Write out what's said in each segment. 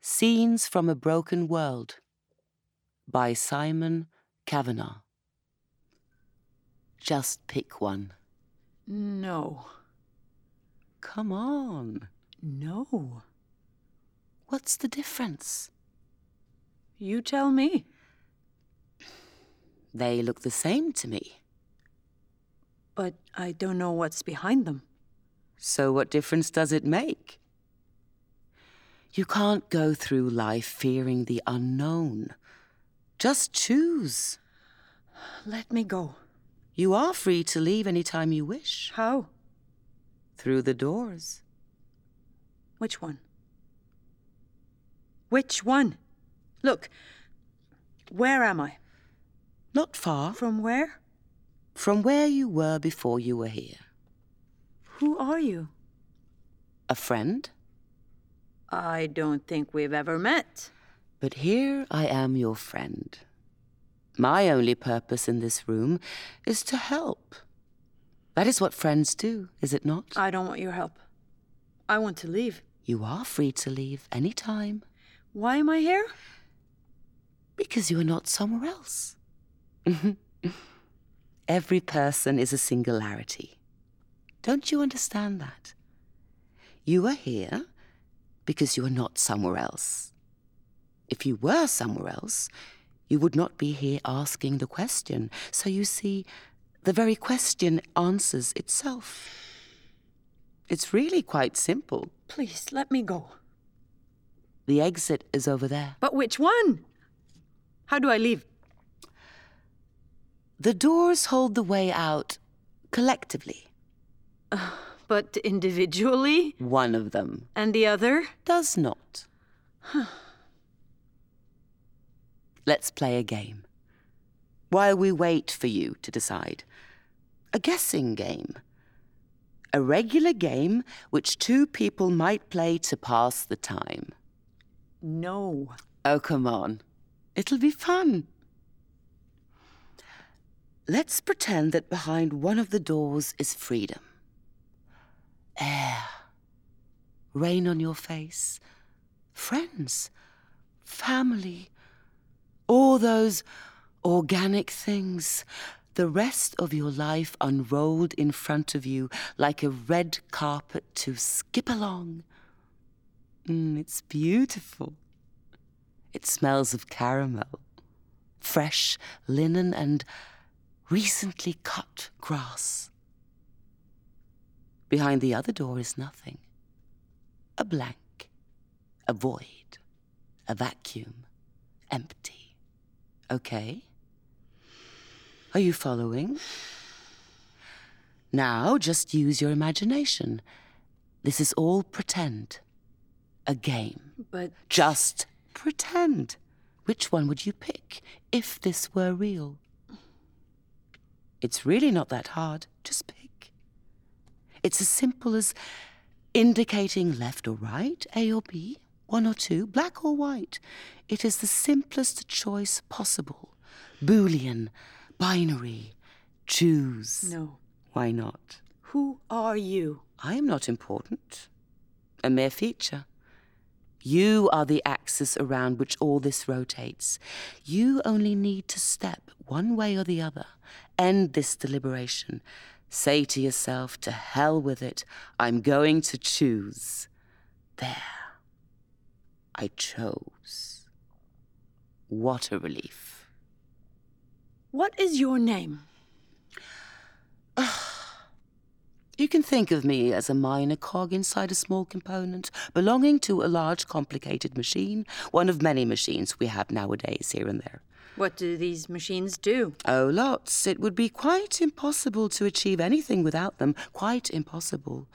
Scenes from a Broken World by Simon Kavanagh. Just pick one. No. Come on. No. What's the difference? You tell me. They look the same to me. But I don't know what's behind them. So, what difference does it make? You can't go through life fearing the unknown. Just choose. Let me go. You are free to leave any time you wish. How? Through the doors. Which one? Which one? Look, where am I? Not far From where? from where you were before you were here. Who are you? A friend? I don't think we've ever met. But here I am your friend. My only purpose in this room is to help. That is what friends do, is it not? I don't want your help. I want to leave. You are free to leave any time Why am I here? because you are not somewhere else. Every person is a singularity. Don't you understand that? You are here because you are not somewhere else. If you were somewhere else, you would not be here asking the question. So you see, the very question answers itself. It's really quite simple. Please, let me go. The exit is over there. But which one? How do I leave? The doors hold the way out collectively. But individually? One of them And the other? does not. Let's play a game. While we wait for you to decide, a guessing game. A regular game which two people might play to pass the time. No. Oh, come on. It'll be fun. Let's pretend that behind one of the doors is freedom. Air. Rain on your face. Friends. Family. All those organic things. The rest of your life unrolled in front of you like a red carpet to skip along. Mm, it's beautiful. It smells of caramel, fresh linen, and recently cut grass. Behind the other door is nothing a blank, a void, a vacuum, empty. Okay? Are you following? Now just use your imagination. This is all pretend, a game. But Just pretend. Which one would you pick if this were real? It's really not that hard. Just pick. It's as simple as indicating left or right, A or B, one or two, black or white. It is the simplest choice possible. Boolean, binary, choose. no. Why not? Who are you? I am not important, a mere feature. You are the axis around which all this rotates. You only need to step one way or the other. End this deliberation. Say to yourself, to hell with it, I'm going to choose. There. I chose. What a relief. What is your name? You can think of me as a minor cog inside a small component belonging to a large complicated machine, one of many machines we have nowadays here and there. What do these machines do? Oh, lots. It would be quite impossible to achieve anything without them. Quite impossible.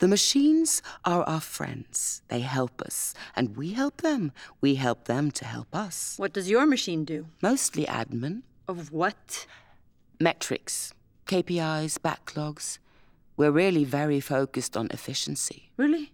The machines are our friends. They help us, and we help them. We help them to help us. What does your machine do? Mostly admin, Of what? metrics, KPIs, backlogs. We're really very focused on efficiency. Really?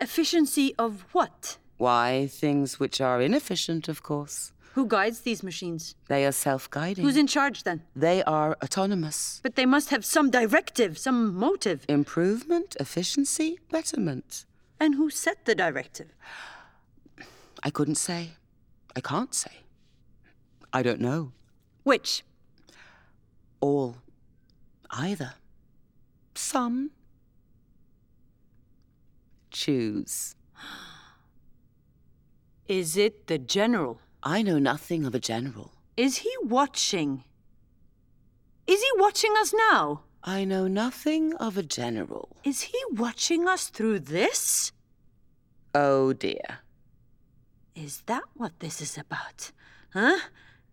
Efficiency of what? Why, things which are inefficient, of course. Who guides these machines? They are self guiding. Who's in charge then? They are autonomous. But they must have some directive, some motive. Improvement, efficiency, betterment. And who set the directive? I couldn't say. I can't say. I don't know. Which? All. Either. Some. Choose. Is it the general? I know nothing of a general. Is he watching? Is he watching us now? I know nothing of a general. Is he watching us through this? Oh dear. Is that what this is about? Huh?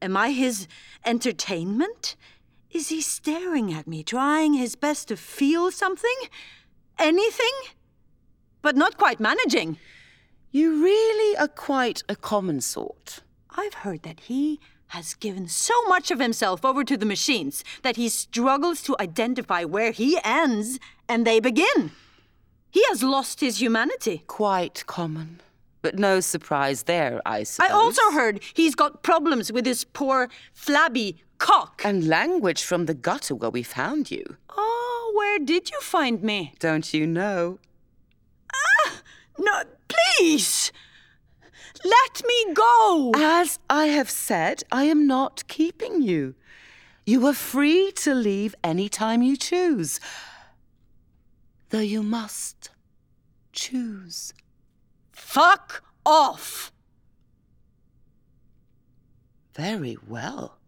Am I his entertainment? Is he staring at me, trying his best to feel something? Anything? But not quite managing. You really are quite a common sort. I've heard that he has given so much of himself over to the machines that he struggles to identify where he ends and they begin. He has lost his humanity. Quite common. But no surprise there, I I suppose. also heard he's got problems with his poor flabby cock. And language from the gutter where we found you. Oh, where did you find me? Don't you know? No, please! Let me go! As I have said, I am not keeping you. You are free to leave any time you choose. Though you must choose. Fuck off! Very well.